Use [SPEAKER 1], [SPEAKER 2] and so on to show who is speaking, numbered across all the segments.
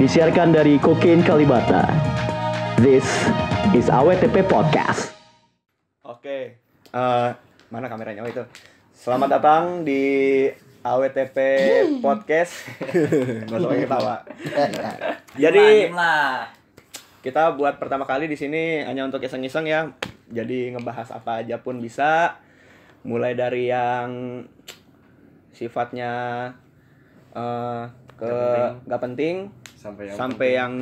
[SPEAKER 1] Disiarkan dari Kokain Kalibata. This is AWTP Podcast.
[SPEAKER 2] Oke, eh, mana kameranya oh itu? Selamat datang di AWTP Podcast. Gak usah pakai ketawa. Jadi
[SPEAKER 3] Manim lah.
[SPEAKER 2] kita buat pertama kali di sini hanya untuk iseng-iseng ya. Jadi ngebahas apa aja pun bisa. Mulai dari yang sifatnya eh ke nggak penting
[SPEAKER 4] sampai yang
[SPEAKER 2] sampai yang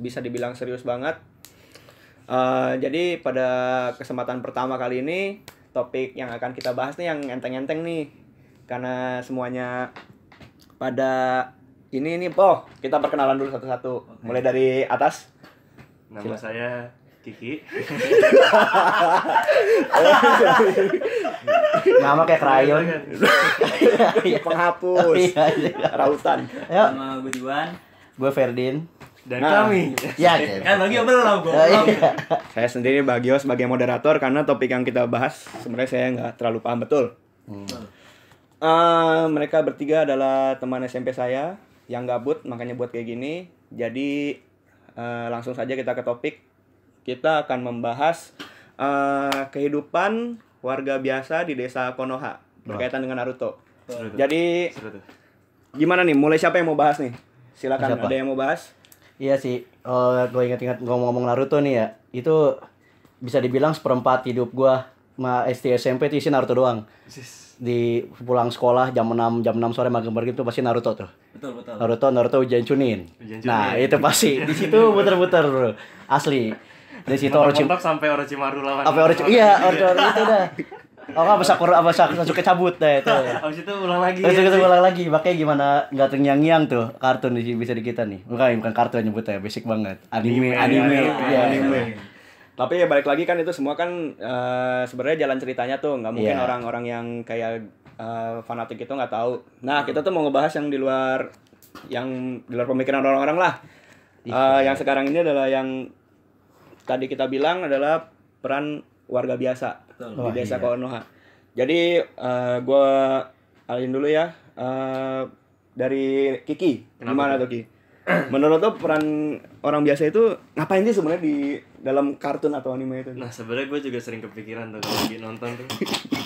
[SPEAKER 2] bisa dibilang serius banget. Eh, jadi pada kesempatan pertama kali ini topik yang akan kita bahas nih yang enteng-enteng nih karena semuanya pada ini nih po kita perkenalan dulu satu-satu mulai dari atas
[SPEAKER 4] nama saya Kiki
[SPEAKER 5] Nama kayak krayon.
[SPEAKER 2] penghapus
[SPEAKER 5] Iya, iya.
[SPEAKER 2] rautan
[SPEAKER 5] Ayo,
[SPEAKER 3] Sama gue Juan.
[SPEAKER 5] gue Ferdin.
[SPEAKER 4] dan
[SPEAKER 2] Nah.
[SPEAKER 4] kami
[SPEAKER 5] Ya,
[SPEAKER 3] Kan bagi belum gue.
[SPEAKER 5] Iya.
[SPEAKER 2] saya sendiri Bagio sebagai moderator karena topik yang kita bahas sebenarnya saya nggak terlalu paham betul
[SPEAKER 4] Hmm.
[SPEAKER 2] Eh, mereka bertiga adalah teman SMP saya yang gabut makanya buat kayak gini. Jadi eh, langsung saja kita ke topik. Kita akan membahas eh, kehidupan warga biasa di desa Konoha berkaitan dengan Naruto.
[SPEAKER 4] Seru tuh.
[SPEAKER 2] Jadi
[SPEAKER 4] Seru tuh.
[SPEAKER 2] gimana nih? Mulai siapa yang mau bahas nih? Silakan
[SPEAKER 5] Siapa?
[SPEAKER 2] ada yang mau bahas?
[SPEAKER 5] Iya sih. Eh, gue ingat-ingat ngomong-ngomong Naruto nih ya. Itu bisa dibilang seperempat hidup gua ma SD SMP tuh isi Naruto doang.
[SPEAKER 4] Sis.
[SPEAKER 5] Di pulang sekolah jam 6 jam 6 sore mager-mager itu pasti Naruto tuh.
[SPEAKER 3] Betul betul.
[SPEAKER 5] Naruto Naruto ujian Chunin.
[SPEAKER 4] Ujian Chunin.
[SPEAKER 5] Nah, itu pasti di situ muter-muter, Bro. Asli. Di situ Orochimaru
[SPEAKER 4] Mentok-mentok sampai Orochimaru lawan
[SPEAKER 5] apa Orochimaru? Iya, Orochimaru itu dah. Oh, apa Sakura apa Sak- Sasuke cabut dah itu.
[SPEAKER 4] Abis itu ulang lagi ya.
[SPEAKER 5] Terus kita ulang lagi, makanya gimana nggak terngiang-ngiang tuh kartun di sini bisa di kita nih. Bukan bukan kartun nyebutnya, basic banget. Anime, anime,
[SPEAKER 4] anime,
[SPEAKER 5] iya.
[SPEAKER 4] anime.
[SPEAKER 2] Tapi ya balik lagi kan itu semua kan eh, sebenarnya jalan ceritanya tuh nggak mungkin
[SPEAKER 5] Iya.
[SPEAKER 2] orang-orang yang kayak eh, fanatik itu nggak tahu. Nah kita tuh mau ngebahas yang di luar yang di luar pemikiran orang-orang lah. Eh, yang sekarang ini adalah yang tadi kita bilang adalah peran warga biasa di
[SPEAKER 5] Wah,
[SPEAKER 2] desa Konoha. Jadi eh, gua gue alin dulu ya Eh, dari Kiki. Gimana tuh Ki? Menurut lo peran orang biasa itu ngapain sih sebenarnya di dalam kartun atau anime itu?
[SPEAKER 4] Nah sebenarnya gue juga sering kepikiran tuh kalau lagi nonton tuh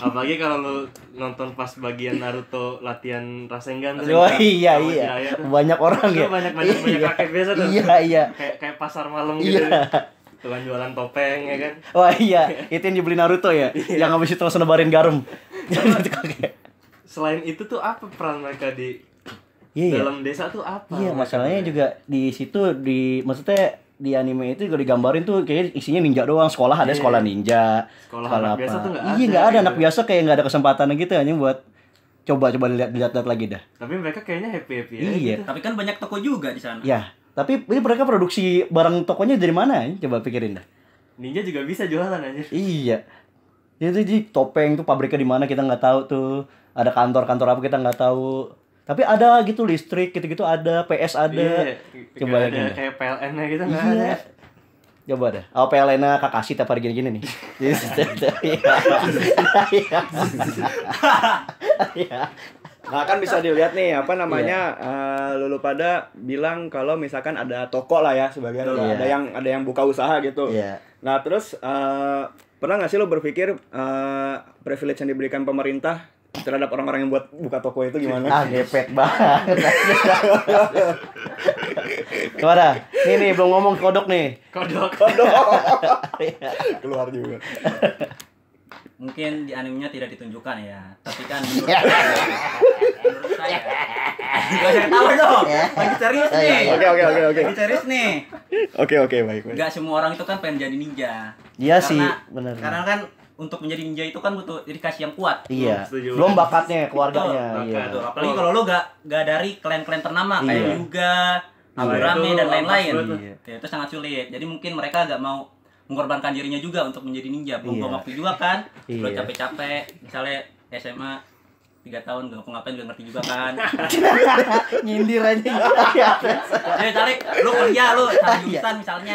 [SPEAKER 4] Apalagi kalau lu nonton pas bagian Naruto latihan Rasengan tuh
[SPEAKER 5] Oh
[SPEAKER 4] sama
[SPEAKER 5] iya
[SPEAKER 4] si
[SPEAKER 5] iya,
[SPEAKER 4] Jiraiya tuh.
[SPEAKER 5] banyak orang
[SPEAKER 4] Itu
[SPEAKER 5] ya.
[SPEAKER 4] banyak-banyak
[SPEAKER 5] Iya.
[SPEAKER 4] banyak kakek biasa tuh
[SPEAKER 5] Iya iya.
[SPEAKER 4] Kayak, kayak pasar malam gitu
[SPEAKER 5] Iya.
[SPEAKER 4] Tuhan jualan topeng ya kan
[SPEAKER 5] Wah iya, itu yang dibeli Naruto ya, yang habis itu langsung nebarin garam.
[SPEAKER 4] Selain itu tuh apa peran mereka di
[SPEAKER 5] Iya, iya.
[SPEAKER 4] dalam desa tuh apa?
[SPEAKER 5] Iya, masalahnya juga di situ di maksudnya di anime itu juga digambarin tuh kayaknya isinya ninja doang sekolah ada sekolah ninja
[SPEAKER 4] Iya. Sekolah anak biasa tuh nggak
[SPEAKER 5] iya
[SPEAKER 4] ada,
[SPEAKER 5] nggak ada anak
[SPEAKER 4] gitu.
[SPEAKER 5] biasa kayak nggak ada kesempatan gitu hanya buat coba coba dilihat dilihat lihat lagi dah
[SPEAKER 4] Tapi mereka kayaknya happy-happy aja
[SPEAKER 5] iya
[SPEAKER 4] gitu.
[SPEAKER 3] Tapi kan banyak toko juga di sana.
[SPEAKER 5] ya tapi ini mereka produksi barang tokonya dari mana ya? coba pikirin dah
[SPEAKER 4] Ninja juga bisa jualan aja.
[SPEAKER 5] iya itu di topeng tuh pabriknya di mana kita nggak tahu tuh ada kantor-kantor apa kita nggak tahu tapi ada gitu listrik gitu-gitu ada PS ada coba
[SPEAKER 4] Coba
[SPEAKER 5] lagi
[SPEAKER 4] ada
[SPEAKER 5] dah.
[SPEAKER 4] Iya. kayak PLN nya gitu enggak ada.
[SPEAKER 5] Iya. Coba dah. Oh, Pelena Kakashi tiap hari gini-gini nih. Iya. Iya. Iya.
[SPEAKER 2] Nah kan bisa dilihat nih apa namanya eh, lulu pada bilang kalau misalkan ada toko lah ya sebagian
[SPEAKER 5] Iya.
[SPEAKER 2] ada yang ada yang buka usaha gitu.
[SPEAKER 5] Iya.
[SPEAKER 2] Nah terus eh, pernah nggak sih lo berpikir eh, privilege yang diberikan pemerintah terhadap orang-orang yang buat buka toko itu
[SPEAKER 5] Ah,
[SPEAKER 2] gimana?
[SPEAKER 5] gepet banget. Gimana? Nih nih belum ngomong kodok nih.
[SPEAKER 4] Kodok.
[SPEAKER 2] Keluar juga.
[SPEAKER 3] Mungkin di animenya tidak ditunjukkan ya. Tapi kan menurut menurut saya. Gak usah ketawa dong.
[SPEAKER 5] Iya.
[SPEAKER 3] Lagi
[SPEAKER 5] Oh,
[SPEAKER 3] serius nih.
[SPEAKER 2] Oke oke oke oke.
[SPEAKER 3] Lagi serius nih.
[SPEAKER 2] Oke oke baik baik.
[SPEAKER 3] Nggak semua orang itu kan pengen jadi ninja.
[SPEAKER 5] Iya
[SPEAKER 3] Karena-
[SPEAKER 5] sih, bener.
[SPEAKER 3] Karena kan untuk menjadi ninja itu kan butuh dikasih yang kuat.
[SPEAKER 5] Iya.
[SPEAKER 4] Setuju.
[SPEAKER 5] Belum bakatnya keluarganya.
[SPEAKER 4] Betul,
[SPEAKER 5] Iya.
[SPEAKER 4] bakat.
[SPEAKER 3] Betul. Apalagi kalau lo gak, gak dari klan-klan ternama kayak
[SPEAKER 5] Iya.
[SPEAKER 3] Yuga,
[SPEAKER 4] Iya.
[SPEAKER 3] Aburame dan lain-lain.
[SPEAKER 4] Itu
[SPEAKER 5] Iya.
[SPEAKER 3] Ya, itu sangat sulit. Jadi mungkin mereka gak mau mengorbankan dirinya juga untuk menjadi ninja. Belum
[SPEAKER 5] Iya.
[SPEAKER 3] waktu juga kan. Belum
[SPEAKER 5] Iya.
[SPEAKER 3] capek-capek. Misalnya SMA tiga tahun gak ngapain gak ngerti juga kan.
[SPEAKER 5] Nyindir aja. Iya.
[SPEAKER 3] Eh,
[SPEAKER 5] Ya!
[SPEAKER 3] Jadi cari lu kuliah lu cari jurusan misalnya.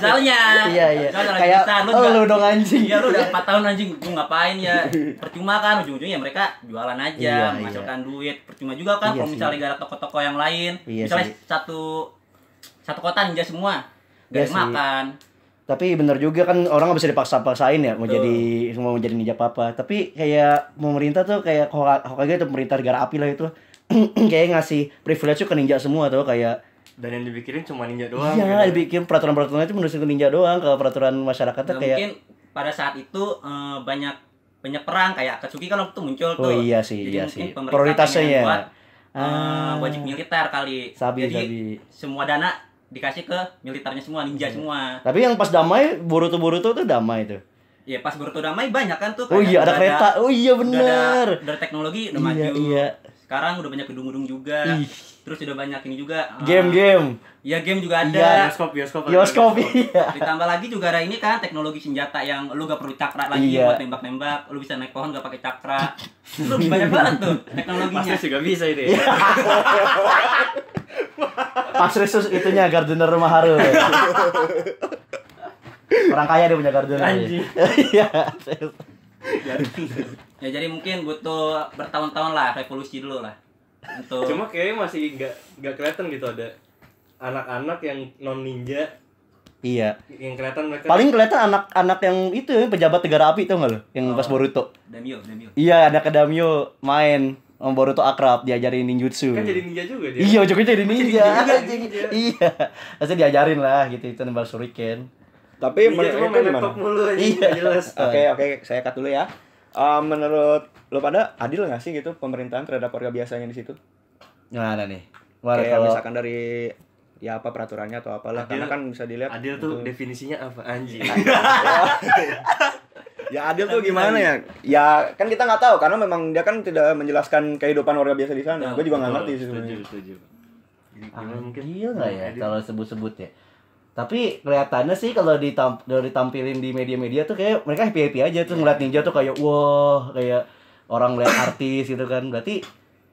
[SPEAKER 3] Misalnya,
[SPEAKER 5] Iya, iya.
[SPEAKER 3] misalnya lagi
[SPEAKER 5] Kayak,
[SPEAKER 3] besar,
[SPEAKER 5] "Oh,
[SPEAKER 3] juga-
[SPEAKER 5] lu dong anjing."
[SPEAKER 3] Iya, lu udah 4 tahun anjing, lu ngapain ya? Percuma kan ujung-ujungnya mereka jualan aja,
[SPEAKER 5] Iya,
[SPEAKER 3] menghasilkan duit. Percuma juga kan
[SPEAKER 5] Iya
[SPEAKER 3] kalau
[SPEAKER 5] sih.
[SPEAKER 3] misalnya nggak ada toko-toko yang lain.
[SPEAKER 5] Iya
[SPEAKER 3] misalnya
[SPEAKER 5] sih.
[SPEAKER 3] satu satu kota ninja semua.
[SPEAKER 5] Iya
[SPEAKER 3] Gak ada
[SPEAKER 5] sih.
[SPEAKER 3] makan.
[SPEAKER 5] tapi bener juga kan orang nggak bisa dipaksa-paksain ya mau
[SPEAKER 3] Betul.
[SPEAKER 5] jadi mau jadi ninja apa tapi kayak pemerintah tuh kayak Hoka- Hokage atau pemerintah negara api lah itu kayak ngasih privilege tuh ke ninja semua tuh kayak
[SPEAKER 4] Dan yang dipikirin cuma ninja doang.
[SPEAKER 5] iya
[SPEAKER 4] gitu.
[SPEAKER 5] dibikin peraturan-peraturan itu menurut ke ninja doang kalau peraturan masyarakat tuh
[SPEAKER 3] Nggak
[SPEAKER 5] kayak
[SPEAKER 3] mungkin pada saat itu eh, banyak banyak perang kayak Akatsuki kan waktu itu muncul
[SPEAKER 5] oh
[SPEAKER 3] tuh.
[SPEAKER 5] iya sih
[SPEAKER 3] Jadi
[SPEAKER 5] iya
[SPEAKER 3] mungkin
[SPEAKER 5] sih
[SPEAKER 3] pemerintah
[SPEAKER 5] prioritasnya
[SPEAKER 3] pengen
[SPEAKER 5] ya
[SPEAKER 3] buat, eh,
[SPEAKER 5] Ah.
[SPEAKER 3] wajib militer kali.
[SPEAKER 5] sabi
[SPEAKER 3] Jadi
[SPEAKER 5] sabi Iya.
[SPEAKER 3] semua dana dikasih ke militernya semua, ninja semua.
[SPEAKER 5] tapi yang pas damai Boruto Boruto tuh damai tuh
[SPEAKER 3] Ya pas Boruto damai banyak kan tuh
[SPEAKER 5] oh
[SPEAKER 3] kayak
[SPEAKER 5] iya ada
[SPEAKER 3] udah
[SPEAKER 5] kereta oh iya
[SPEAKER 3] udah ada-
[SPEAKER 5] bener
[SPEAKER 3] Udah, ada teknologi udah
[SPEAKER 5] iya
[SPEAKER 3] maju.
[SPEAKER 5] iya
[SPEAKER 3] Sekarang udah banyak gedung-gedung juga.
[SPEAKER 5] Ih.
[SPEAKER 3] Terus udah banyak ini juga. eh,
[SPEAKER 5] game-game
[SPEAKER 3] Iya game juga
[SPEAKER 5] Iya.
[SPEAKER 3] ada.
[SPEAKER 4] Bioskop, bioskop. ada
[SPEAKER 5] bioskop
[SPEAKER 4] bioskop.
[SPEAKER 5] iya
[SPEAKER 3] Ditambah lagi juga ada ini kan teknologi senjata yang lu gak perlu cakra lagi
[SPEAKER 5] Iya.
[SPEAKER 3] buat nembak-nembak. Lu bisa naik pohon gak pakai cakra. lu banyak banget tuh teknologinya.
[SPEAKER 4] Pasti
[SPEAKER 5] Iya.
[SPEAKER 4] juga bisa ini. ya.
[SPEAKER 5] Pas Risus itunya gardener rumah haru. Orang kaya dia punya gardener.
[SPEAKER 3] Anjing.
[SPEAKER 5] Iya.
[SPEAKER 3] Ya jadi mungkin butuh bertahun-tahun lah revolusi dulu lah. Untuk
[SPEAKER 4] Cuma kayaknya masih nggak nggak kelihatan gitu ada anak-anak yang non ninja
[SPEAKER 5] iya.
[SPEAKER 4] yang kelihatan mereka
[SPEAKER 5] Paling kelihatan anak-anak yang itu pejabat negara api tau gak lo? Yang pas
[SPEAKER 3] Oh.
[SPEAKER 5] Boruto.
[SPEAKER 3] Damio, Damio.
[SPEAKER 5] Iya, ada Kedamio main sama Boruto akrab diajarin ninjutsu.
[SPEAKER 4] kan jadi ninja juga dia.
[SPEAKER 5] Iya, cukup jadi ninja.
[SPEAKER 4] ninja,
[SPEAKER 5] anjing.
[SPEAKER 4] ninja.
[SPEAKER 5] Iya. Pasti diajarin lah gitu itu nembak shuriken.
[SPEAKER 2] Tapi menurut
[SPEAKER 4] Ninja cuma
[SPEAKER 2] itu
[SPEAKER 4] Iya, main
[SPEAKER 2] gimana?
[SPEAKER 4] laptop mulu aja,
[SPEAKER 5] Iya.
[SPEAKER 4] nggak jelas.
[SPEAKER 5] Ah,
[SPEAKER 2] Oke oke saya cut dulu ya. Eh, menurut lo pada adil nggak sih gitu pemerintahan terhadap warga biasanya di situ?
[SPEAKER 5] Gimana nih? Gimana
[SPEAKER 2] Kayak
[SPEAKER 5] kalau
[SPEAKER 2] misalkan dari ya apa peraturannya atau apalah karena
[SPEAKER 4] Adil-
[SPEAKER 2] kan bisa dilihat
[SPEAKER 4] Adil tuh
[SPEAKER 2] gitu.
[SPEAKER 4] definisinya apa anjing?
[SPEAKER 5] Iya.
[SPEAKER 2] ya adil tuh gimana ya ya kan kita nggak tahu karena memang dia kan tidak menjelaskan kehidupan warga biasa di sana gue juga nggak ngerti sih
[SPEAKER 4] Ya, Setuju,
[SPEAKER 2] sebenarnya
[SPEAKER 4] setuju. Jadi gimana mungkin? Iya,
[SPEAKER 5] Adil nggak ya
[SPEAKER 4] Adil.
[SPEAKER 5] kalau sebut-sebut ya? Tapi kelihatannya sih kalau ditamp kalau ditampilin di media-media tuh kayak mereka happy happy aja tuh ngeliat ninja tuh kayak wah kayak orang ngeliat artis gitu kan berarti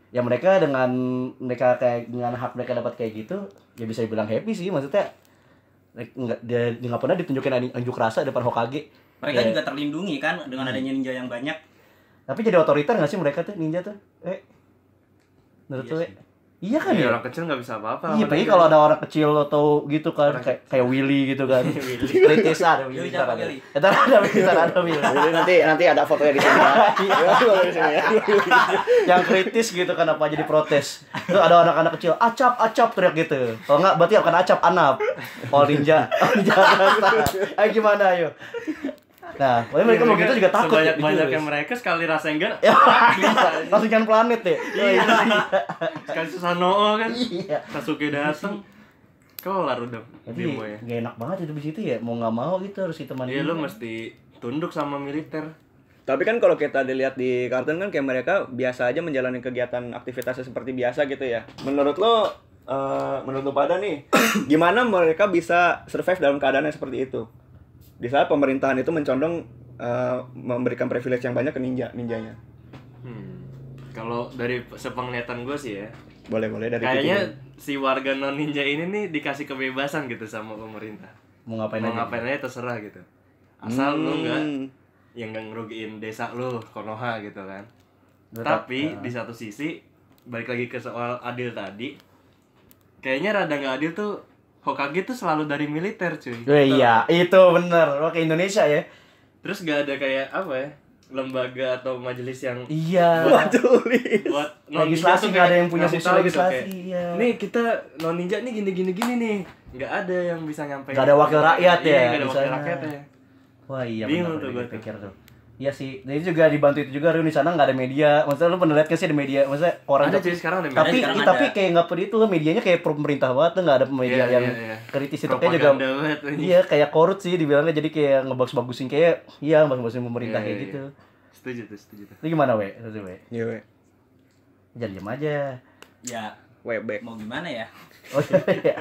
[SPEAKER 5] ya mereka dengan mereka kayak dengan hak mereka dapat kayak gitu ya bisa dibilang happy sih maksudnya like, nggak dia dia nggak pernah ditunjukin ani- unjuk rasa depan Hokage
[SPEAKER 3] Mereka
[SPEAKER 5] Iya.
[SPEAKER 3] juga terlindungi kan
[SPEAKER 5] Hmm.
[SPEAKER 3] dengan adanya ninja yang banyak.
[SPEAKER 5] tapi jadi otoriter nggak sih mereka tuh ninja tuh eh menurut
[SPEAKER 3] Iya
[SPEAKER 5] lu,
[SPEAKER 3] sih.
[SPEAKER 5] eh? iya kan ya
[SPEAKER 4] Iya, orang kecil nggak bisa apa-apa.
[SPEAKER 5] Iya, tapi
[SPEAKER 4] apalagi
[SPEAKER 5] kalau ada orang kecil atau gitu kan kayak kayak Willy gitu kan. Kritis ada Willy.
[SPEAKER 3] Willy siapa,
[SPEAKER 5] Ntar
[SPEAKER 3] Willy?
[SPEAKER 5] ada. Ntar ada Willy, ntar ada Willy.
[SPEAKER 2] Jadi nanti nanti ada fotonya di sini ya. Ya, fotonya di sini ya.
[SPEAKER 5] Yang kritis gitu kan apa jadi protes. Itu ada anak-anak kecil, acap acap teriak gitu. Kalau enggak berarti bukan acap anap. Kalau ninja, ninja rasa. Ayo gimana ayo. Nah, pokoknya mereka
[SPEAKER 4] Iya,
[SPEAKER 5] mau gitu juga takut.
[SPEAKER 4] Sebanyak
[SPEAKER 5] gitu,
[SPEAKER 4] banyak
[SPEAKER 5] guys.
[SPEAKER 4] yang mereka sekali rasengan
[SPEAKER 5] Ya, langsung jangan planet deh.
[SPEAKER 4] Iya. sekali Susanoo kan.
[SPEAKER 5] Iya.
[SPEAKER 4] Sasuke datang. Kelar udah
[SPEAKER 5] Jadi
[SPEAKER 4] demo ya.
[SPEAKER 5] gak Iya. enak banget hidup di situ ya, mau nggak mau gitu harus ditemani.
[SPEAKER 4] Iya lu mesti tunduk sama militer.
[SPEAKER 2] Tapi kan kalau kita dilihat di kartun kan kayak mereka biasa aja menjalani kegiatan aktivitasnya seperti biasa gitu ya. Menurut lo eh, menurut lo pada nih gimana mereka bisa survive dalam keadaannya seperti itu? Di saat pemerintahan itu mencondong eh, memberikan privilege yang banyak ke ninja ninjanya.
[SPEAKER 4] Hmm. Kalau dari sepenglihatan gue sih ya,
[SPEAKER 2] Boleh boleh dari
[SPEAKER 4] kayaknya si warga non ninja ini nih dikasih kebebasan gitu sama pemerintah.
[SPEAKER 5] mau ngapain
[SPEAKER 4] Mau
[SPEAKER 5] aja.
[SPEAKER 4] ngapain aja terserah gitu. Asal lu
[SPEAKER 2] pikiran.
[SPEAKER 4] nggak
[SPEAKER 2] Hmm.
[SPEAKER 4] yang nggak ngerugiin desa lu, Konoha gitu kan.
[SPEAKER 5] Tetap,
[SPEAKER 4] Tapi
[SPEAKER 5] eh.
[SPEAKER 4] di satu sisi balik lagi ke soal adil tadi, kayaknya rada nggak adil tuh Hokage tuh selalu dari militer cuy.
[SPEAKER 5] Oh iya, itu bener. Lo ke Indonesia ya?
[SPEAKER 4] Terus nggak ada kayak apa ya lembaga atau majelis yang
[SPEAKER 5] Iya.
[SPEAKER 2] Tulis.
[SPEAKER 4] buat
[SPEAKER 5] Legislasi
[SPEAKER 4] non-ninja tuh
[SPEAKER 5] nggak ada
[SPEAKER 4] kayak
[SPEAKER 5] yang punya
[SPEAKER 4] ngasih
[SPEAKER 5] fungsi
[SPEAKER 4] tahu gitu,
[SPEAKER 5] legislasi,
[SPEAKER 4] kayak,
[SPEAKER 5] iya.
[SPEAKER 4] Nih kita non ninja nih gini gini gini nih. Nggak ada yang bisa nyampein.
[SPEAKER 5] Nggak ada wakil rakyat
[SPEAKER 4] Iya,
[SPEAKER 5] ya,
[SPEAKER 4] nggak ada
[SPEAKER 5] di
[SPEAKER 4] wakil
[SPEAKER 5] sana.
[SPEAKER 4] rakyat ya.
[SPEAKER 5] Wah iya
[SPEAKER 4] Bingung
[SPEAKER 5] bener,
[SPEAKER 4] tuh gua
[SPEAKER 5] bener, pikir tuh. Iya sih, jadi juga dibantu itu juga Ryu di sana nggak ada media. Maksudnya lu pernah lihat nggak sih ada media? Maksudnya orang
[SPEAKER 4] Ada
[SPEAKER 5] tapi,
[SPEAKER 4] cuy sekarang ada
[SPEAKER 5] tapi,
[SPEAKER 4] media.
[SPEAKER 3] sekarang
[SPEAKER 5] tapi
[SPEAKER 3] ada.
[SPEAKER 5] kayak nggak peduli itu medianya kayak pemerintah banget tuh nggak ada media
[SPEAKER 4] Iya,
[SPEAKER 5] yang
[SPEAKER 4] iya, iya.
[SPEAKER 5] kritis itu kayak juga
[SPEAKER 4] Propaganda banget anjing.
[SPEAKER 5] iya kayak korut sih dibilangnya jadi kayak ngebagus-bagusin kayak iya ngebagus-bagusin pemerintah
[SPEAKER 4] Iya,
[SPEAKER 5] kayak
[SPEAKER 4] iya,
[SPEAKER 5] gitu.
[SPEAKER 4] iya. Setuju tuh, setuju tuh.
[SPEAKER 5] Itu gimana we? Itu we.
[SPEAKER 2] Iya, we.
[SPEAKER 5] Jangan diam aja.
[SPEAKER 3] Ya
[SPEAKER 2] We, back.
[SPEAKER 3] mau gimana ya?
[SPEAKER 5] Oh iya.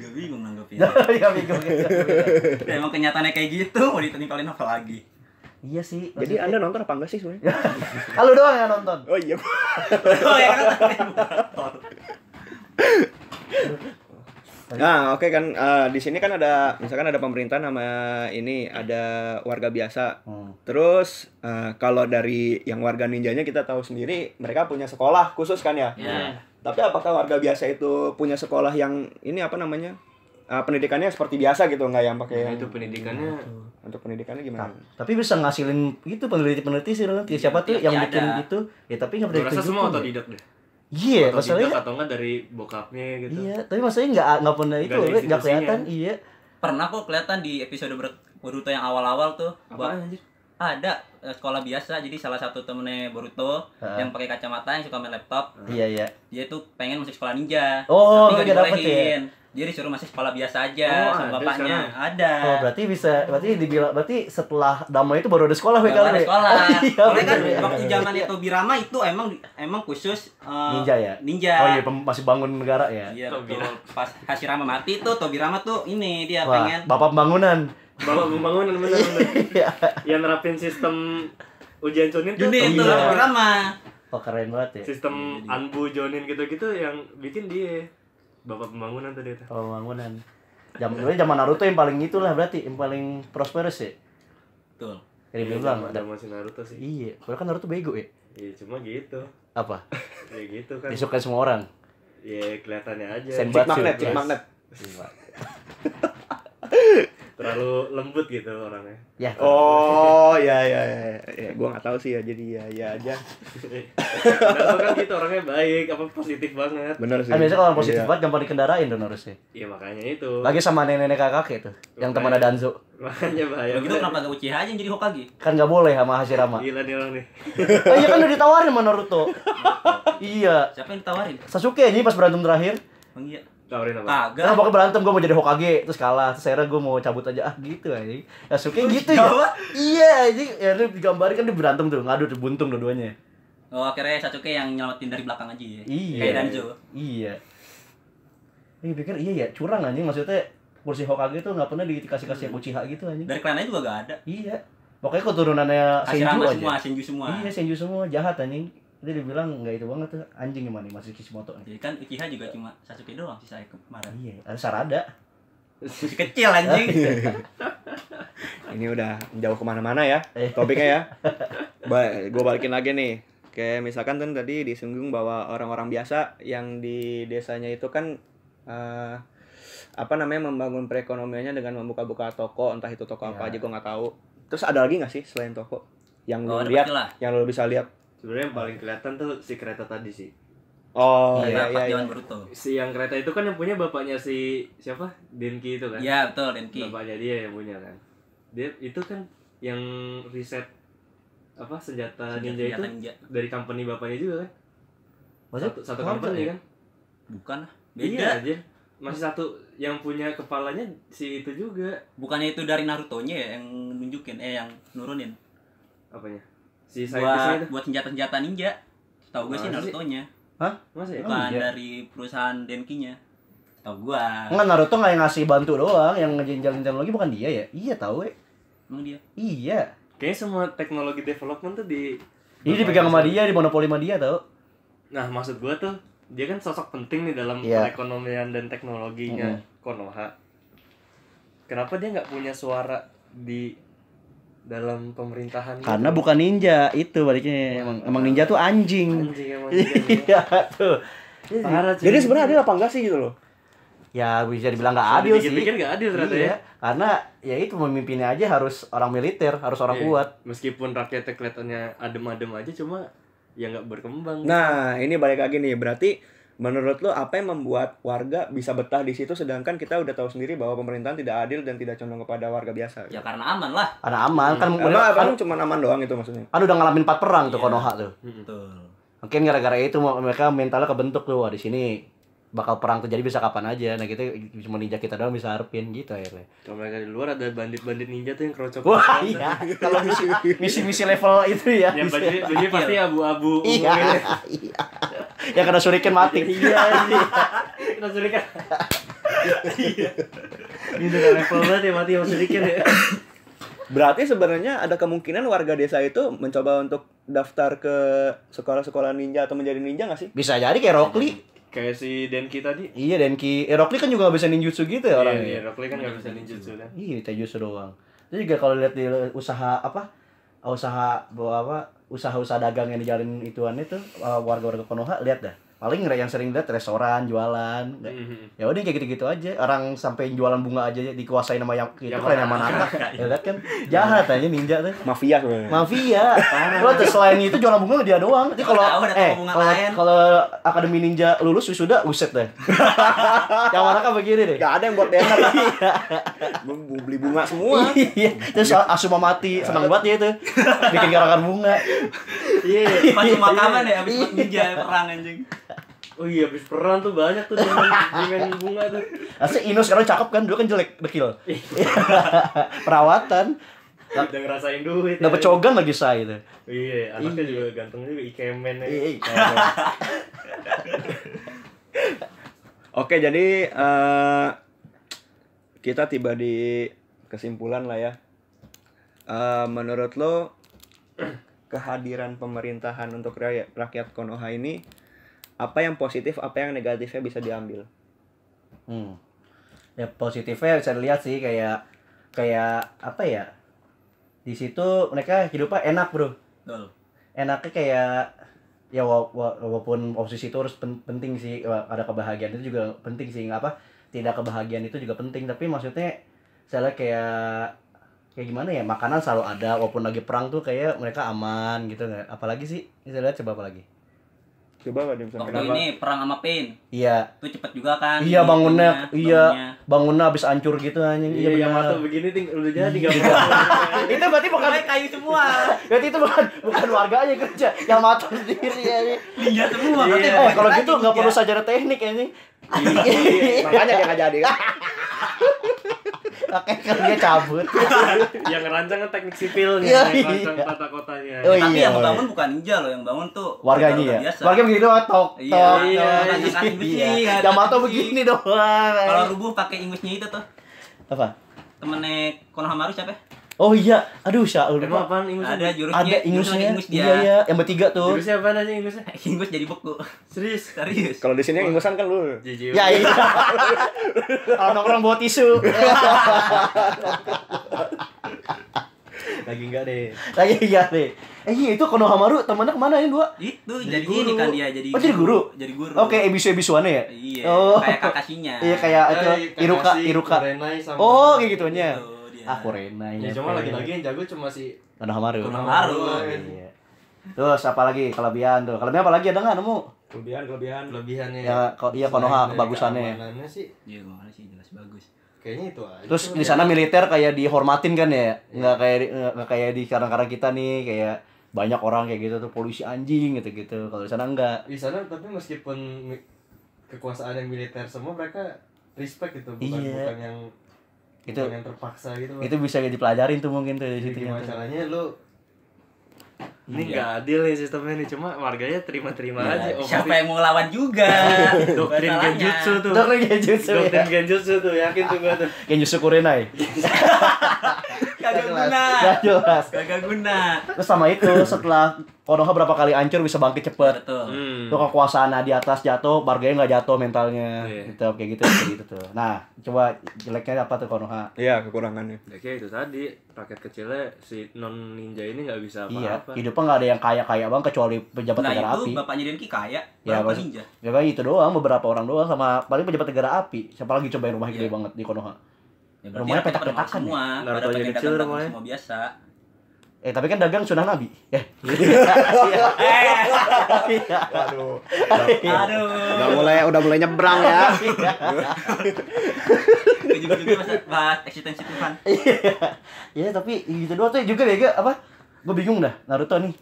[SPEAKER 3] Gue bingung nanggepinnya.
[SPEAKER 5] Iya bingung, bingung, bingung.
[SPEAKER 3] Ya, Emang kenyataannya kayak gitu, mau ditempelin apa lagi?
[SPEAKER 5] Iya sih.
[SPEAKER 2] Jadi
[SPEAKER 5] maksudnya-
[SPEAKER 2] Anda nonton apa enggak sih sebenarnya?
[SPEAKER 5] Halo doang yang nonton.
[SPEAKER 2] Oh iya.
[SPEAKER 3] iya, Oh, ya kan?
[SPEAKER 2] Nah, oke kan eh, di sini kan ada misalkan ada pemerintah nama ini ada warga biasa.
[SPEAKER 5] Hmm.
[SPEAKER 2] Terus eh, kalau dari yang warga ninjanya kita tahu sendiri mereka punya sekolah khusus kan ya.
[SPEAKER 3] Ya.
[SPEAKER 2] Tapi apakah warga biasa itu punya sekolah yang ini apa namanya? Eh, pendidikannya seperti biasa gitu nggak yang pakai
[SPEAKER 4] Nah,
[SPEAKER 2] yang-
[SPEAKER 4] itu pendidikannya
[SPEAKER 5] Iya,
[SPEAKER 2] untuk pendidikannya gimana?
[SPEAKER 5] Nah, Tapi bisa ngasilin itu peneliti-peneliti sih nanti siapa tuh
[SPEAKER 3] Ya,
[SPEAKER 5] yang
[SPEAKER 3] ya
[SPEAKER 5] bikin
[SPEAKER 3] ada.
[SPEAKER 5] itu? Ya tapi nggak
[SPEAKER 4] gue
[SPEAKER 5] boleh
[SPEAKER 4] rasa semua
[SPEAKER 5] ditunjukin. ya.
[SPEAKER 4] otodidak deh
[SPEAKER 5] Iya, masalahnya
[SPEAKER 4] otodidak atau enggak dari bokapnya gitu
[SPEAKER 5] iya, tapi masalahnya nggak nggak pernah itu,
[SPEAKER 4] ada
[SPEAKER 5] nggak
[SPEAKER 4] institusinya.
[SPEAKER 5] kelihatan.
[SPEAKER 3] ya.
[SPEAKER 5] Iya.
[SPEAKER 3] Pernah kok kelihatan di episode Ber- Boruto yang awal-awal tuh. Bahwa ada eh, sekolah biasa jadi salah satu temennya Boruto
[SPEAKER 5] Ha.
[SPEAKER 3] yang pakai kacamata yang suka main laptop
[SPEAKER 5] Iya, iya.
[SPEAKER 3] dia tuh pengen masuk sekolah ninja
[SPEAKER 5] Oh,
[SPEAKER 3] tapi
[SPEAKER 5] nggak
[SPEAKER 3] gak
[SPEAKER 5] dapet ya?
[SPEAKER 3] dibolehin dia disuruh masuk sekolah biasa aja
[SPEAKER 4] Oh,
[SPEAKER 3] sama
[SPEAKER 4] ada
[SPEAKER 3] bapaknya
[SPEAKER 4] sekarang.
[SPEAKER 3] ada
[SPEAKER 5] Oh, berarti bisa berarti dibilang berarti setelah damai itu baru ada sekolah
[SPEAKER 3] Gak
[SPEAKER 5] ya kali.
[SPEAKER 3] ada
[SPEAKER 5] ya?
[SPEAKER 3] sekolah
[SPEAKER 5] Oh, iya,
[SPEAKER 3] Soalnya kan
[SPEAKER 5] bener ya.
[SPEAKER 3] waktu zaman itu Birama itu emang emang khusus eh,
[SPEAKER 5] Ninja ya?
[SPEAKER 3] ninja
[SPEAKER 5] Oh iya, pem- masih bangun negara ya.
[SPEAKER 3] Iya, betul.
[SPEAKER 4] Tobirama.
[SPEAKER 3] Pas Hashirama mati tuh Tobirama tuh ini dia
[SPEAKER 5] Wah,
[SPEAKER 3] pengen
[SPEAKER 5] bapak pembangunan.
[SPEAKER 4] bawa pembangunan bener bener
[SPEAKER 5] Iya.
[SPEAKER 4] yang nerapin sistem ujian cunin tuh
[SPEAKER 3] Juni itu
[SPEAKER 5] Iya.
[SPEAKER 3] Tobirama.
[SPEAKER 5] Oh, keren banget ya.
[SPEAKER 4] sistem anbu jonin gitu-gitu yang bikin dia bapak pembangunan tadi itu
[SPEAKER 5] Kalau bangunan. Jam dulu zaman Naruto yang paling itulah berarti yang paling prosperous ya.
[SPEAKER 3] Betul.
[SPEAKER 5] Yang
[SPEAKER 3] Iya,
[SPEAKER 5] dibilang
[SPEAKER 4] ada masih Naruto sih
[SPEAKER 5] Iya, padahal kan Naruto bego ya.
[SPEAKER 4] iya cuma gitu
[SPEAKER 5] Apa?
[SPEAKER 4] ya gitu kan
[SPEAKER 5] Disukai semua orang.
[SPEAKER 4] ya kelihatannya aja
[SPEAKER 5] Senbatsu.
[SPEAKER 2] Cik magnet, cik
[SPEAKER 5] Yes.
[SPEAKER 2] magnet.
[SPEAKER 4] terlalu lembut gitu orangnya
[SPEAKER 5] Ya.
[SPEAKER 2] Oh, ya ya ya. ya gua nggak tahu sih ya jadi ya ya aja.
[SPEAKER 4] Naruto kan gitu orangnya baik apa positif banget
[SPEAKER 2] Bener sih.
[SPEAKER 5] Kan biasanya kalau orang positif
[SPEAKER 2] Iya.
[SPEAKER 5] banget gampang dikendarain dong harusnya.
[SPEAKER 4] iya makanya itu
[SPEAKER 5] ya. Lagi sama nenek-nenek kakak tuh, yang temannya Danzo.
[SPEAKER 4] makanya bahaya
[SPEAKER 3] Kalau gitu kenapa gak Uchiha aja yang jadi Hokage?
[SPEAKER 5] Kan nggak boleh sama Hashirama.
[SPEAKER 2] Iya.
[SPEAKER 4] gila nih orang nih
[SPEAKER 5] Oh, iya kan udah ditawarin sama Naruto. iya.
[SPEAKER 3] Siapa yang ditawarin?
[SPEAKER 5] Sasuke ini pas berantem terakhir,
[SPEAKER 3] Bang iya.
[SPEAKER 4] tawarin apa
[SPEAKER 5] Nah,
[SPEAKER 3] Kagak.
[SPEAKER 5] pokoknya berantem gue mau jadi Hokage terus kalah terus akhirnya gue mau cabut aja ah gitu aja Sasuke gitu ya
[SPEAKER 3] Jawa.
[SPEAKER 5] iya aja ya lu digambarin kan dia berantem tuh ngadu tuh buntung dua-duanya
[SPEAKER 3] Oh, akhirnya Sasuke yang nyelamatin dari belakang aja ya.
[SPEAKER 5] Iya.
[SPEAKER 3] Kayak Danzo.
[SPEAKER 5] iya Iya pikir iya ya curang anjing maksudnya kursi Hokage tuh nggak pernah dikasih kasih Uchiha gitu anjing
[SPEAKER 3] Dari klan lain juga gak ada.
[SPEAKER 5] iya pokoknya keturunannya Senju
[SPEAKER 3] Hashirama
[SPEAKER 5] aja
[SPEAKER 3] semua, Senju semua.
[SPEAKER 5] iya Senju semua jahat anjing dia dibilang nggak itu banget tuh anjing gimana nih masih Kishimoto anjing.
[SPEAKER 3] Jadi kan Uchiha juga cuma Sasuke doang sih saya kemarin.
[SPEAKER 5] iya ada Sarada
[SPEAKER 3] Masih kecil anjing.
[SPEAKER 2] Ini udah jauh kemana-mana ya
[SPEAKER 5] Eh.
[SPEAKER 2] topiknya ya. Ba gue balikin lagi nih. Kayak misalkan kan tadi disinggung bahwa orang-orang biasa yang di desanya itu kan eh, apa namanya membangun perekonomiannya dengan membuka-buka toko entah itu toko apa
[SPEAKER 5] Ya.
[SPEAKER 2] aja gue nggak tahu. Terus ada lagi nggak sih selain toko yang
[SPEAKER 3] Oh,
[SPEAKER 2] lu
[SPEAKER 3] ada
[SPEAKER 2] lihat,
[SPEAKER 3] pasti lah.
[SPEAKER 2] yang lu bisa lihat?
[SPEAKER 4] sebenarnya yang paling kelihatan tuh si kereta tadi sih
[SPEAKER 2] Oh iya
[SPEAKER 3] Dari
[SPEAKER 2] iya.
[SPEAKER 3] rapat
[SPEAKER 2] iya.
[SPEAKER 3] Dewan Boruto.
[SPEAKER 4] si yang kereta itu kan yang punya bapaknya si siapa Denki itu kan
[SPEAKER 3] Iya, betul Denki.
[SPEAKER 4] bapaknya dia yang punya kan dia itu kan yang riset apa senjata, ninja itu
[SPEAKER 3] Senjata ninja.
[SPEAKER 4] dari company bapaknya juga kan
[SPEAKER 5] maksudnya
[SPEAKER 4] satu, satu
[SPEAKER 5] kenapa
[SPEAKER 4] company
[SPEAKER 5] ya?
[SPEAKER 4] kan
[SPEAKER 3] Bukan lah.
[SPEAKER 4] iya
[SPEAKER 3] Beda.
[SPEAKER 4] anjir masih satu yang punya kepalanya si itu juga
[SPEAKER 3] Bukannya itu dari Naruto-nya ya yang nunjukin eh yang nurunin.
[SPEAKER 4] apanya si
[SPEAKER 3] buat
[SPEAKER 4] scientist itu
[SPEAKER 3] buat senjata-senjata ninja. Tahu gue sih
[SPEAKER 4] Apaan sih?
[SPEAKER 3] Naruto-nya.
[SPEAKER 4] masa ya
[SPEAKER 5] Oh,
[SPEAKER 3] Bukan
[SPEAKER 5] iya.
[SPEAKER 3] dari perusahaan Denki-nya. Tahu gua.
[SPEAKER 5] Enggak Naruto nggak yang ngasih bantu doang, yang ngejenjalin teknologi bukan dia ya? Iya tahu ya.
[SPEAKER 3] Emang dia.
[SPEAKER 5] Iya.
[SPEAKER 4] kayaknya semua teknologi development tuh di
[SPEAKER 5] Ini dipegang sama dia, di monopoli sama dia tahu.
[SPEAKER 4] nah maksud gua tuh dia kan sosok penting nih dalam
[SPEAKER 5] Iya.
[SPEAKER 4] perekonomian dan teknologinya Konoha kenapa dia nggak punya suara di dalam pemerintahan gitu?
[SPEAKER 5] Karena bukan ninja itu baliknya emang emang ninja tuh anjing.
[SPEAKER 4] anjing emang dia.
[SPEAKER 5] Iya tuh.
[SPEAKER 4] Parah, cuy.
[SPEAKER 2] Jadi sebenarnya ada apa enggak sih gitu loh?
[SPEAKER 5] Ya bisa dibilang nggak
[SPEAKER 4] Kalau
[SPEAKER 5] adil sih.
[SPEAKER 4] dipikir-pikir nggak adil ternyata
[SPEAKER 5] Iya,
[SPEAKER 4] ya
[SPEAKER 5] Karena ya itu memimpinnya aja harus orang militer, harus orang
[SPEAKER 4] Iya.
[SPEAKER 5] kuat.
[SPEAKER 4] meskipun rakyatnya kelihatannya adem-adem aja cuma ya nggak berkembang
[SPEAKER 2] Nah, ini balik lagi nih. Berarti menurut lo apa yang membuat warga bisa betah di situ sedangkan kita udah tahu sendiri bahwa pemerintahan tidak adil dan tidak condong kepada warga biasa.
[SPEAKER 3] Ya karena aman lah.
[SPEAKER 5] Karena aman kan,
[SPEAKER 2] Emang
[SPEAKER 5] kan,
[SPEAKER 2] kan cuma aman doang itu maksudnya.
[SPEAKER 5] kan udah ngalamin empat perang tuh
[SPEAKER 3] Iya.
[SPEAKER 5] Konoha tuh.
[SPEAKER 3] Betul.
[SPEAKER 5] Mungkin gara-gara itu mereka mentalnya kebentuk tuh wah di sini bakal perang terjadi bisa kapan aja. Nah kita cuma ninja kita doang bisa harapin gitu akhirnya.
[SPEAKER 4] kalau mereka di luar ada bandit-bandit ninja tuh yang kerocok
[SPEAKER 5] Wah iya, kalau misi misi-misi level itu ya.
[SPEAKER 4] yang
[SPEAKER 5] bisa.
[SPEAKER 4] bajunya, bajunya pasti abu-abu
[SPEAKER 5] Iya, iya. Yang kena shuriken mati. Iya,
[SPEAKER 4] kita surikan Iya. ini udah level banget ya mati sama sedikit ya
[SPEAKER 2] Berarti sebenarnya ada kemungkinan warga desa itu mencoba untuk daftar ke sekolah-sekolah ninja atau menjadi ninja nggak sih?
[SPEAKER 5] Bisa jadi kayak Rockly.
[SPEAKER 4] Kayak si Denki tadi.
[SPEAKER 5] Iya Denki, eh, Rock Lee kan juga gak bisa ninjutsu gitu ya orangnya.
[SPEAKER 4] Iya, iya, Rock Lee kan nggak bisa ninjutsu kan.
[SPEAKER 5] Iya, Taijutsu doang. Itu juga kalau lihat di usaha apa? Usaha bahwa apa? Usaha-usaha dagang yang dijalin ituan itu uh, warga-warga Konoha lihat dah. Paling re- yang sering lihat restoran, jualan. nggak-
[SPEAKER 3] Hmm.
[SPEAKER 4] Mhm.
[SPEAKER 5] Ya udah kayak gitu-gitu aja. Orang sampai jualan bunga aja dikuasain sama yang itu
[SPEAKER 4] Yang
[SPEAKER 5] kalian yang
[SPEAKER 4] mana-
[SPEAKER 5] mana
[SPEAKER 3] Iya.
[SPEAKER 5] Ya lihat kan jahat aja ninja tuh.
[SPEAKER 2] Mafia sebenarnya.
[SPEAKER 5] Mafia. Lo tuh selain itu jualan bunga dia doang. Jadi kalau
[SPEAKER 3] Tahu, udah tahu
[SPEAKER 5] eh
[SPEAKER 3] bunga
[SPEAKER 5] kalau
[SPEAKER 3] lain.
[SPEAKER 5] kalau akademi ninja lulus wisuda uset deh. yang mana kan begini deh.
[SPEAKER 2] Gak ada yang buat banner. Bu- Beli bunga semua.
[SPEAKER 5] Iya, terus Asuma mati, senang banget ya itu. Bikin karangan bunga.
[SPEAKER 4] Iya.
[SPEAKER 3] Pas pemakaman ya abis ninja perang anjing.
[SPEAKER 4] Oh iya, habis perang tuh banyak tuh dengan dengan bunga tuh.
[SPEAKER 5] Asli Ino sekarang cakep kan, dulu kan jelek, dekil.
[SPEAKER 4] Iya.
[SPEAKER 5] Perawatan,
[SPEAKER 4] Udah ngerasain duit.
[SPEAKER 5] dapat
[SPEAKER 4] ya.
[SPEAKER 5] cogan lagi gitu. saya itu.
[SPEAKER 4] Iya, anaknya juga ganteng juga ikemen ya.
[SPEAKER 5] gitu.
[SPEAKER 2] Oke, jadi eh, kita tiba di kesimpulan lah ya. Eh, menurut lo kehadiran pemerintahan untuk rakyat, rakyat Konoha ini apa yang positif, apa yang negatifnya bisa diambil?
[SPEAKER 5] Hmm. Ya positifnya bisa dilihat sih kayak kayak apa ya? Di situ mereka hidupnya enak, Bro.
[SPEAKER 3] Betul.
[SPEAKER 5] enaknya kayak ya wa- wa- walaupun posisi itu harus pen- penting sih wa- ada kebahagiaan itu juga penting sih nggak apa tidak kebahagiaan itu juga penting tapi maksudnya saya lihat kayak kayak gimana ya makanan selalu ada walaupun lagi perang tuh kayak mereka aman gitu nggak apalagi sih Ini saya lihat coba apalagi
[SPEAKER 2] Coba Pak Dim
[SPEAKER 3] Waktu
[SPEAKER 2] sampaikan.
[SPEAKER 3] ini perang sama Pain.
[SPEAKER 5] iya
[SPEAKER 3] Itu cepet juga kan.
[SPEAKER 5] Iya, bangunnya.
[SPEAKER 3] Itunya,
[SPEAKER 5] Iya.
[SPEAKER 3] bangunnya.
[SPEAKER 5] bangunnya habis hancur gitu anjing
[SPEAKER 4] Iya, yang
[SPEAKER 5] benar.
[SPEAKER 4] mata begini ting udah jadi gambar.
[SPEAKER 5] itu berarti bukan
[SPEAKER 3] Pokoknya kayu semua.
[SPEAKER 5] berarti itu bukan bukan warganya kerja yang mata sendiri ya
[SPEAKER 3] Ninja semua. katanya
[SPEAKER 5] eh
[SPEAKER 3] bukan
[SPEAKER 5] kalau
[SPEAKER 3] lagi Iya.
[SPEAKER 5] gitu nggak
[SPEAKER 3] ninja.
[SPEAKER 5] perlu sajarah teknik ya ini
[SPEAKER 2] Makanya dia nggak jadi. kan?
[SPEAKER 5] Makanya kan dia cabut.
[SPEAKER 4] yang ngerancang kan teknik sipilnya,
[SPEAKER 5] Iya,
[SPEAKER 4] yang ngerancang
[SPEAKER 5] iya.
[SPEAKER 4] tata kotanya.
[SPEAKER 5] Oh,
[SPEAKER 3] Tapi
[SPEAKER 5] iya,
[SPEAKER 3] yang
[SPEAKER 5] woy.
[SPEAKER 3] bangun bukan ninja loh, yang bangun tuh
[SPEAKER 5] Warganya ya.
[SPEAKER 3] warga-warga Iya, biasa.
[SPEAKER 5] Warga begini doang tok
[SPEAKER 3] Iya,
[SPEAKER 5] tok.
[SPEAKER 4] iya,
[SPEAKER 5] tok.
[SPEAKER 3] iya, kaki besi,
[SPEAKER 5] Iya.
[SPEAKER 3] ada
[SPEAKER 5] Yamato
[SPEAKER 3] kaki besi.
[SPEAKER 5] begini doang.
[SPEAKER 3] Kalau rubuh pakai ingusnya itu tuh.
[SPEAKER 5] Apa?
[SPEAKER 3] Temennya Konohamaru siapa? ya?
[SPEAKER 5] Oh iya, aduh Syaul.
[SPEAKER 4] Emang apaan Inggris?
[SPEAKER 3] Ada jurusnya.
[SPEAKER 5] Ada
[SPEAKER 3] jurus lagi
[SPEAKER 5] ingusnya.
[SPEAKER 3] Ingus dia.
[SPEAKER 5] Iya iya, yang bertiga tuh.
[SPEAKER 4] Jurusnya apaan aja Inggrisnya?
[SPEAKER 3] Ingus Eh, jadi beku.
[SPEAKER 4] Serius?
[SPEAKER 3] Serius.
[SPEAKER 2] Kalau di sini yang ingusan kan lu.
[SPEAKER 4] Jijik.
[SPEAKER 5] Ya iya. Kalau nongkrong bawa tisu.
[SPEAKER 2] Lagi enggak deh.
[SPEAKER 5] Lagi iya deh. Eh iya itu Konohamaru temennya kemana ini dua?
[SPEAKER 3] Itu
[SPEAKER 5] Jadi
[SPEAKER 3] jadi, ini
[SPEAKER 5] guru.
[SPEAKER 3] kan dia jadi
[SPEAKER 5] Oh, jadi guru?
[SPEAKER 3] Jadi guru.
[SPEAKER 5] Oke, ebisu ebisuannya ya.
[SPEAKER 3] Iya.
[SPEAKER 5] Oh.
[SPEAKER 3] Kayak kakasinya.
[SPEAKER 5] Iya kayak itu Iruka Iruka. Oh, kayak gituannya.
[SPEAKER 3] Gitu,
[SPEAKER 5] Ah,
[SPEAKER 3] Aku
[SPEAKER 5] Korena
[SPEAKER 4] Ya cuma lagi-lagi yang jago cuma si
[SPEAKER 5] Konohamaru.
[SPEAKER 3] Konohamaru.
[SPEAKER 5] Iya. Terus apa lagi kelebihan tuh? Kelebihan apa lagi ada nggak nemu?
[SPEAKER 2] Kelebihan, kelebihan.
[SPEAKER 4] kelebihannya.
[SPEAKER 5] Ya, ko- iya, Konoha,
[SPEAKER 4] Selain dari
[SPEAKER 5] kebagusannya.
[SPEAKER 4] keamanannya sih
[SPEAKER 3] Iya, kemarin sih jelas bagus.
[SPEAKER 4] kayaknya itu aja.
[SPEAKER 5] Terus di sana militer kayak dihormatin kan ya, nggak kayak di- nggak kayak di sekarang-karang kita nih kayak banyak orang kayak gitu tuh polisi anjing gitu-gitu. Kalau di sana enggak.
[SPEAKER 4] di sana tapi meskipun mi- kekuasaan yang militer semua mereka respect gitu bukan
[SPEAKER 5] Iya.
[SPEAKER 4] bukan yang
[SPEAKER 5] Itu-
[SPEAKER 4] bukan yang terpaksa gitu
[SPEAKER 5] Itu bisa dipelajarin tuh mungkin tuh di situ. gitu.
[SPEAKER 4] Jadi
[SPEAKER 5] tuh.
[SPEAKER 4] masalahnya lu ini nggak adil ya sistemnya nih cuma warganya terima-terima aja oh,
[SPEAKER 3] Siapa
[SPEAKER 4] pasti
[SPEAKER 3] yang mau lawan juga?
[SPEAKER 4] doktrin
[SPEAKER 3] Masalahnya.
[SPEAKER 4] genjutsu tuh
[SPEAKER 5] Doktrin genjutsu, ya.
[SPEAKER 4] doktrin genjutsu tuh yakin tuh gua tuh
[SPEAKER 5] Genjutsu Kurenai.
[SPEAKER 3] Kagak guna.
[SPEAKER 5] Gak jelas.
[SPEAKER 3] Kagak guna.
[SPEAKER 5] Terus sama itu setelah Konoha berapa kali hancur bisa bangkit cepet.
[SPEAKER 3] Betul.
[SPEAKER 4] hmm.
[SPEAKER 5] Tuh kekuasaan di atas jatuh, warganya nggak jatuh mentalnya.
[SPEAKER 4] Iya.
[SPEAKER 5] Tetap kayak gitu kayak gitu tuh. Nah, coba jeleknya apa tuh Konoha?
[SPEAKER 2] Iya, kekurangannya.
[SPEAKER 4] Ya kayak itu tadi rakyat kecilnya si non ninja ini nggak bisa
[SPEAKER 5] Iya,
[SPEAKER 4] apa-apa.
[SPEAKER 5] hidupnya nggak ada yang kaya-kaya bang kecuali pejabat
[SPEAKER 3] Nah
[SPEAKER 5] negara
[SPEAKER 3] itu
[SPEAKER 5] api.
[SPEAKER 3] bapaknya Denki kaya,
[SPEAKER 5] Ya,
[SPEAKER 3] berapa
[SPEAKER 5] maksud-
[SPEAKER 3] ninja?
[SPEAKER 5] Ya kan itu doang, beberapa orang doang sama paling pejabat negara api. Siapa lagi cobain rumah gede
[SPEAKER 3] Iya.
[SPEAKER 5] banget di Konoha?
[SPEAKER 3] Ya, berarti
[SPEAKER 5] Rumahnya
[SPEAKER 3] rakyat pada
[SPEAKER 5] petak-petakan
[SPEAKER 3] makan semua,
[SPEAKER 4] ya? Naruto
[SPEAKER 3] pada
[SPEAKER 4] aja
[SPEAKER 3] pakai
[SPEAKER 4] kecil
[SPEAKER 3] dagang-dagang
[SPEAKER 4] rumahnya.
[SPEAKER 3] semua biasa.
[SPEAKER 5] Eh tapi kan dagang sunah nabi. Eh. Iya.
[SPEAKER 2] Waduh.
[SPEAKER 3] Aduh.
[SPEAKER 4] Iya.
[SPEAKER 2] Udah mulai udah mulai nyebrang ya.
[SPEAKER 3] Juga-juga bahas- bahas eksistensi Tuhan.
[SPEAKER 5] Iya tapi gitu doang tuh juga deh Ge, apa? Gue bingung dah Naruto nih.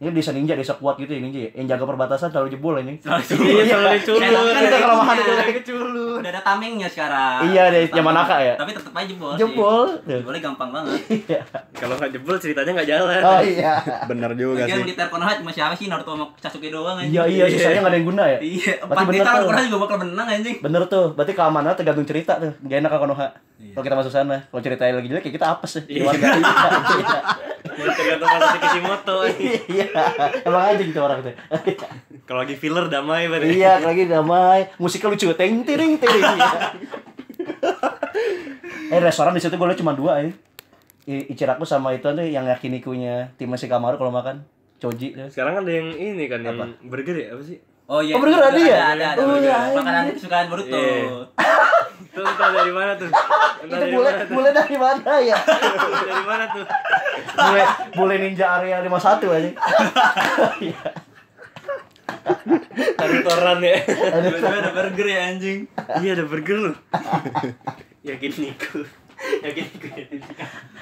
[SPEAKER 5] Ini desa ninja, desa kuat gitu ya ninja ya. Yang jaga perbatasan selalu jebol anjing.
[SPEAKER 3] Selalu jebol.
[SPEAKER 5] Iya, selalu
[SPEAKER 3] culun.
[SPEAKER 5] Kita kelemahan itu
[SPEAKER 3] Iya.
[SPEAKER 5] culun.
[SPEAKER 3] Udah ada tamengnya sekarang.
[SPEAKER 5] Iya, dari
[SPEAKER 3] Tameng.
[SPEAKER 5] Yamanaka ya?
[SPEAKER 3] Tapi tetep aja jebol. sih.
[SPEAKER 5] Jebol.
[SPEAKER 3] Jebolnya gampang banget.
[SPEAKER 5] Iya.
[SPEAKER 4] Kalau nggak jebol ceritanya nggak jalan. Kan
[SPEAKER 5] Oh iya.
[SPEAKER 2] Bener juga
[SPEAKER 3] Lagian
[SPEAKER 2] sih.
[SPEAKER 3] militer Konoha cuma siapa sih Naruto sama Sasuke doang anjing.
[SPEAKER 5] Iya iya sisanya nggak ada yang guna ya.
[SPEAKER 3] Iya,
[SPEAKER 5] Berarti
[SPEAKER 3] empat
[SPEAKER 5] bener
[SPEAKER 3] desa
[SPEAKER 5] tuh.
[SPEAKER 3] Konoha juga bakal menang anjing.
[SPEAKER 5] Bener tuh, berarti keamanan tergantung cerita tuh. Gak enak kalau Konoha. Kalau kita masuk sana, kalau ceritanya lagi jelek ya kita apes ya. Di
[SPEAKER 4] Iya.
[SPEAKER 5] warga. Iya.
[SPEAKER 4] Tergantung Masashi Kishimoto.
[SPEAKER 5] Iya. Emang anjing gitu tuh orang tuh.
[SPEAKER 4] Kalau lagi filler damai berarti.
[SPEAKER 5] iya lagi damai musiknya lucu ting ting ting eh restoran di situ gue cuma dua ya I- Ichiraku sama itu tuh yang yakinikunya tim si Kamaru kalau makan Choji tuh.
[SPEAKER 4] Sekarang ada yang ini kan yang burger ya apa sih?
[SPEAKER 3] Oh iya.
[SPEAKER 5] Oh, burger ada ya?
[SPEAKER 3] Ada, ada,
[SPEAKER 5] Oh,
[SPEAKER 3] burger.
[SPEAKER 5] iya.
[SPEAKER 3] Makanan kesukaan Boruto.
[SPEAKER 4] Iya. Itu entah dari mana tuh?
[SPEAKER 5] Itu
[SPEAKER 4] Entah dari
[SPEAKER 5] bule,
[SPEAKER 4] mana tuh?
[SPEAKER 5] bule dari mana ya?
[SPEAKER 4] Dari mana tuh?
[SPEAKER 5] bule, bule ninja area 51 aja. Iya.
[SPEAKER 4] Dari toran ya.
[SPEAKER 3] Tiba-tiba ada burger ya anjing.
[SPEAKER 4] Iya ada burger loh. Yakin Niku. Yakin Niku ya.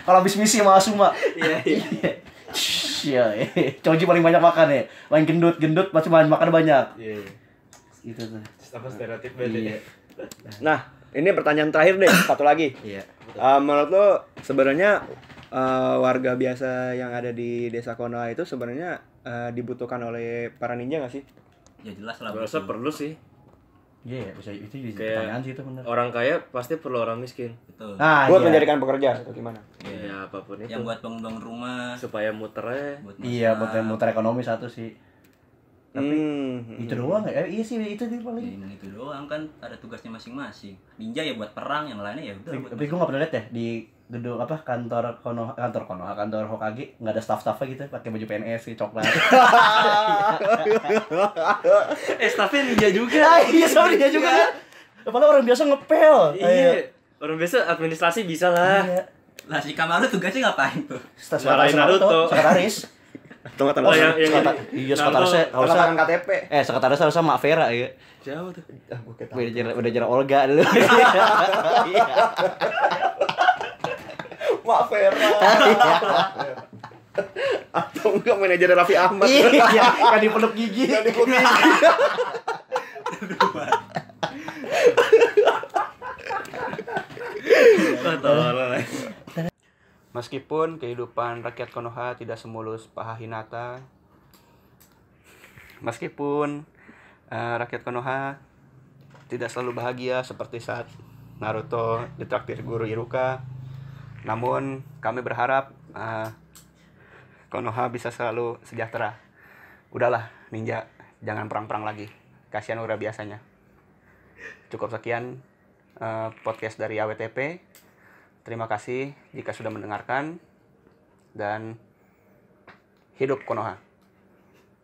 [SPEAKER 5] Kalau habis misi sama Asuma.
[SPEAKER 4] Iya iya.
[SPEAKER 5] Shhh, Iya, eh. Choji paling banyak makan ya. Main gendut, gendut pasti main makan banyak.
[SPEAKER 4] Iya. iya.
[SPEAKER 5] Gitu tuh.
[SPEAKER 4] Terus Apa stereotip banget ya?
[SPEAKER 2] Nah, ini pertanyaan terakhir deh, satu lagi.
[SPEAKER 5] Iya.
[SPEAKER 2] Eh, menurut lo sebenarnya eh, warga biasa yang ada di desa Konoha itu sebenarnya eh, dibutuhkan oleh para ninja nggak sih?
[SPEAKER 3] Ya jelas lah.
[SPEAKER 4] Gue rasa
[SPEAKER 3] Boruto.
[SPEAKER 4] perlu sih.
[SPEAKER 5] Iya, bisa itu bisa
[SPEAKER 4] Kayak-
[SPEAKER 5] pertanyaan sih itu bener.
[SPEAKER 4] Orang kaya pasti perlu orang miskin.
[SPEAKER 3] Betul.
[SPEAKER 5] Nah,
[SPEAKER 2] Buat
[SPEAKER 5] iya.
[SPEAKER 2] menjadikan pekerja atau gimana?
[SPEAKER 3] Iya.
[SPEAKER 4] Ya apapun itu.
[SPEAKER 3] Yang buat bangun-bangun rumah.
[SPEAKER 4] Supaya muter aja.
[SPEAKER 3] Buat
[SPEAKER 5] Iya,
[SPEAKER 3] masak.
[SPEAKER 5] buat muter ekonomi satu sih.
[SPEAKER 2] Hmm,
[SPEAKER 5] Itu doang ya? Eh, iya sih, itu sih
[SPEAKER 3] Ya,
[SPEAKER 5] paling.
[SPEAKER 3] ini itu doang kan ada tugasnya masing-masing. Ninja ya buat perang, yang lainnya ya udah
[SPEAKER 4] Iya.
[SPEAKER 5] Tapi,
[SPEAKER 3] buat
[SPEAKER 5] tapi gue gak pernah liat ya di gedung apa kantor Konoha kantor Konoha kantor Hokage nggak ada staff-staffnya gitu pakai baju PNS sih coklat
[SPEAKER 4] Eh staffnya ninja juga.
[SPEAKER 5] ah, iya sorry dia juga kan Padahal orang biasa ngepel Ayo.
[SPEAKER 4] Iya. Orang biasa administrasi bisa lah.
[SPEAKER 5] iya
[SPEAKER 3] Lah si Kamaru tugasnya ngapain tuh?
[SPEAKER 5] stasiun
[SPEAKER 4] Marahin Naruto.
[SPEAKER 5] sekretaris
[SPEAKER 2] Atau nggak tanpa-
[SPEAKER 4] Oh, yang yang
[SPEAKER 5] Sekreta- iya sekretarisnya
[SPEAKER 4] Naruto.
[SPEAKER 2] tanpa
[SPEAKER 5] harusnya
[SPEAKER 2] tangan KTP.
[SPEAKER 5] eh sekretarisnya harusnya Mak Vera ya
[SPEAKER 4] Jauh tuh.
[SPEAKER 5] udah jarak udah jarak Olga dulu
[SPEAKER 4] Iya.
[SPEAKER 5] Iya.
[SPEAKER 2] Mak Vera. Atau enggak manajer Raffi Ahmad.
[SPEAKER 5] iya kan di peluk gigi
[SPEAKER 4] Wah, tolol.
[SPEAKER 6] Meskipun kehidupan rakyat Konoha tidak semulus paha Hinata, meskipun eh, rakyat Konoha tidak selalu bahagia seperti saat Naruto ditraktir guru Iruka, namun kami berharap eh, Konoha bisa selalu sejahtera. Udahlah, ninja, jangan perang-perang lagi. Kasihan udah biasanya. Cukup sekian eh, podcast dari AWTP. Terima kasih jika sudah mendengarkan dan hidup Konoha.